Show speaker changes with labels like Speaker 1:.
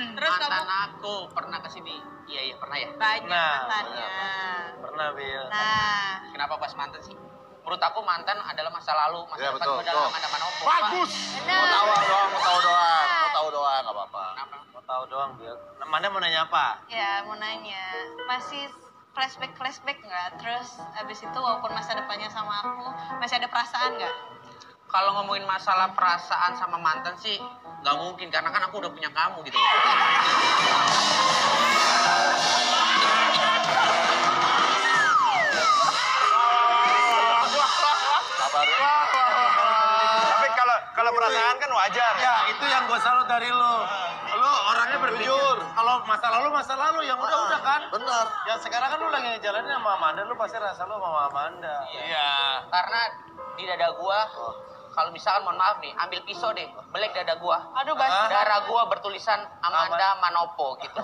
Speaker 1: mantan aku pernah kesini. Iya iya pernah ya.
Speaker 2: Banyak
Speaker 3: Nah,
Speaker 2: mantannya.
Speaker 3: Pernah, Bil.
Speaker 2: Nah,
Speaker 1: Kenapa pas mantan sih? Menurut aku mantan adalah masa lalu, masa
Speaker 4: Iya,
Speaker 1: depan
Speaker 4: betul,
Speaker 1: gue dalam
Speaker 4: betul.
Speaker 1: hadapan opo.
Speaker 4: Bagus. Mau
Speaker 2: Benar.
Speaker 4: tahu doang, mau tahu doang, mau tahu doang, nggak apa-apa.
Speaker 1: Kenapa?
Speaker 3: Mau tahu doang, Bil. Nah, Manda mau nanya apa?
Speaker 2: ya mau nanya, masih flashback flashback nggak? Terus abis itu walaupun masa depannya sama aku, masih ada perasaan nggak?
Speaker 1: Kalau ngomongin masalah perasaan sama mantan sih nggak mungkin karena kan aku udah punya kamu gitu.
Speaker 4: Sabar.
Speaker 5: Tapi kalau kalau perasaan kan wajar.
Speaker 3: Ya, itu yang gue salut dari lo. Lo orangnya berpikir,
Speaker 4: Jujur.
Speaker 3: kalau masa lalu, masa lalu. Yang udah-udah kan?
Speaker 4: Benar.
Speaker 3: Yang sekarang kan lo lagi ngejalanin sama Amanda, lo pasti rasa lo sama Amanda.
Speaker 1: Iya. Karena di dada gua
Speaker 4: Oh.
Speaker 1: kalau misalkan mohon maaf nih, ambil pisau deh, belek dada gua.
Speaker 2: Aduh, basi.
Speaker 1: Darah gua bertulisan Amanda Manopo gitu.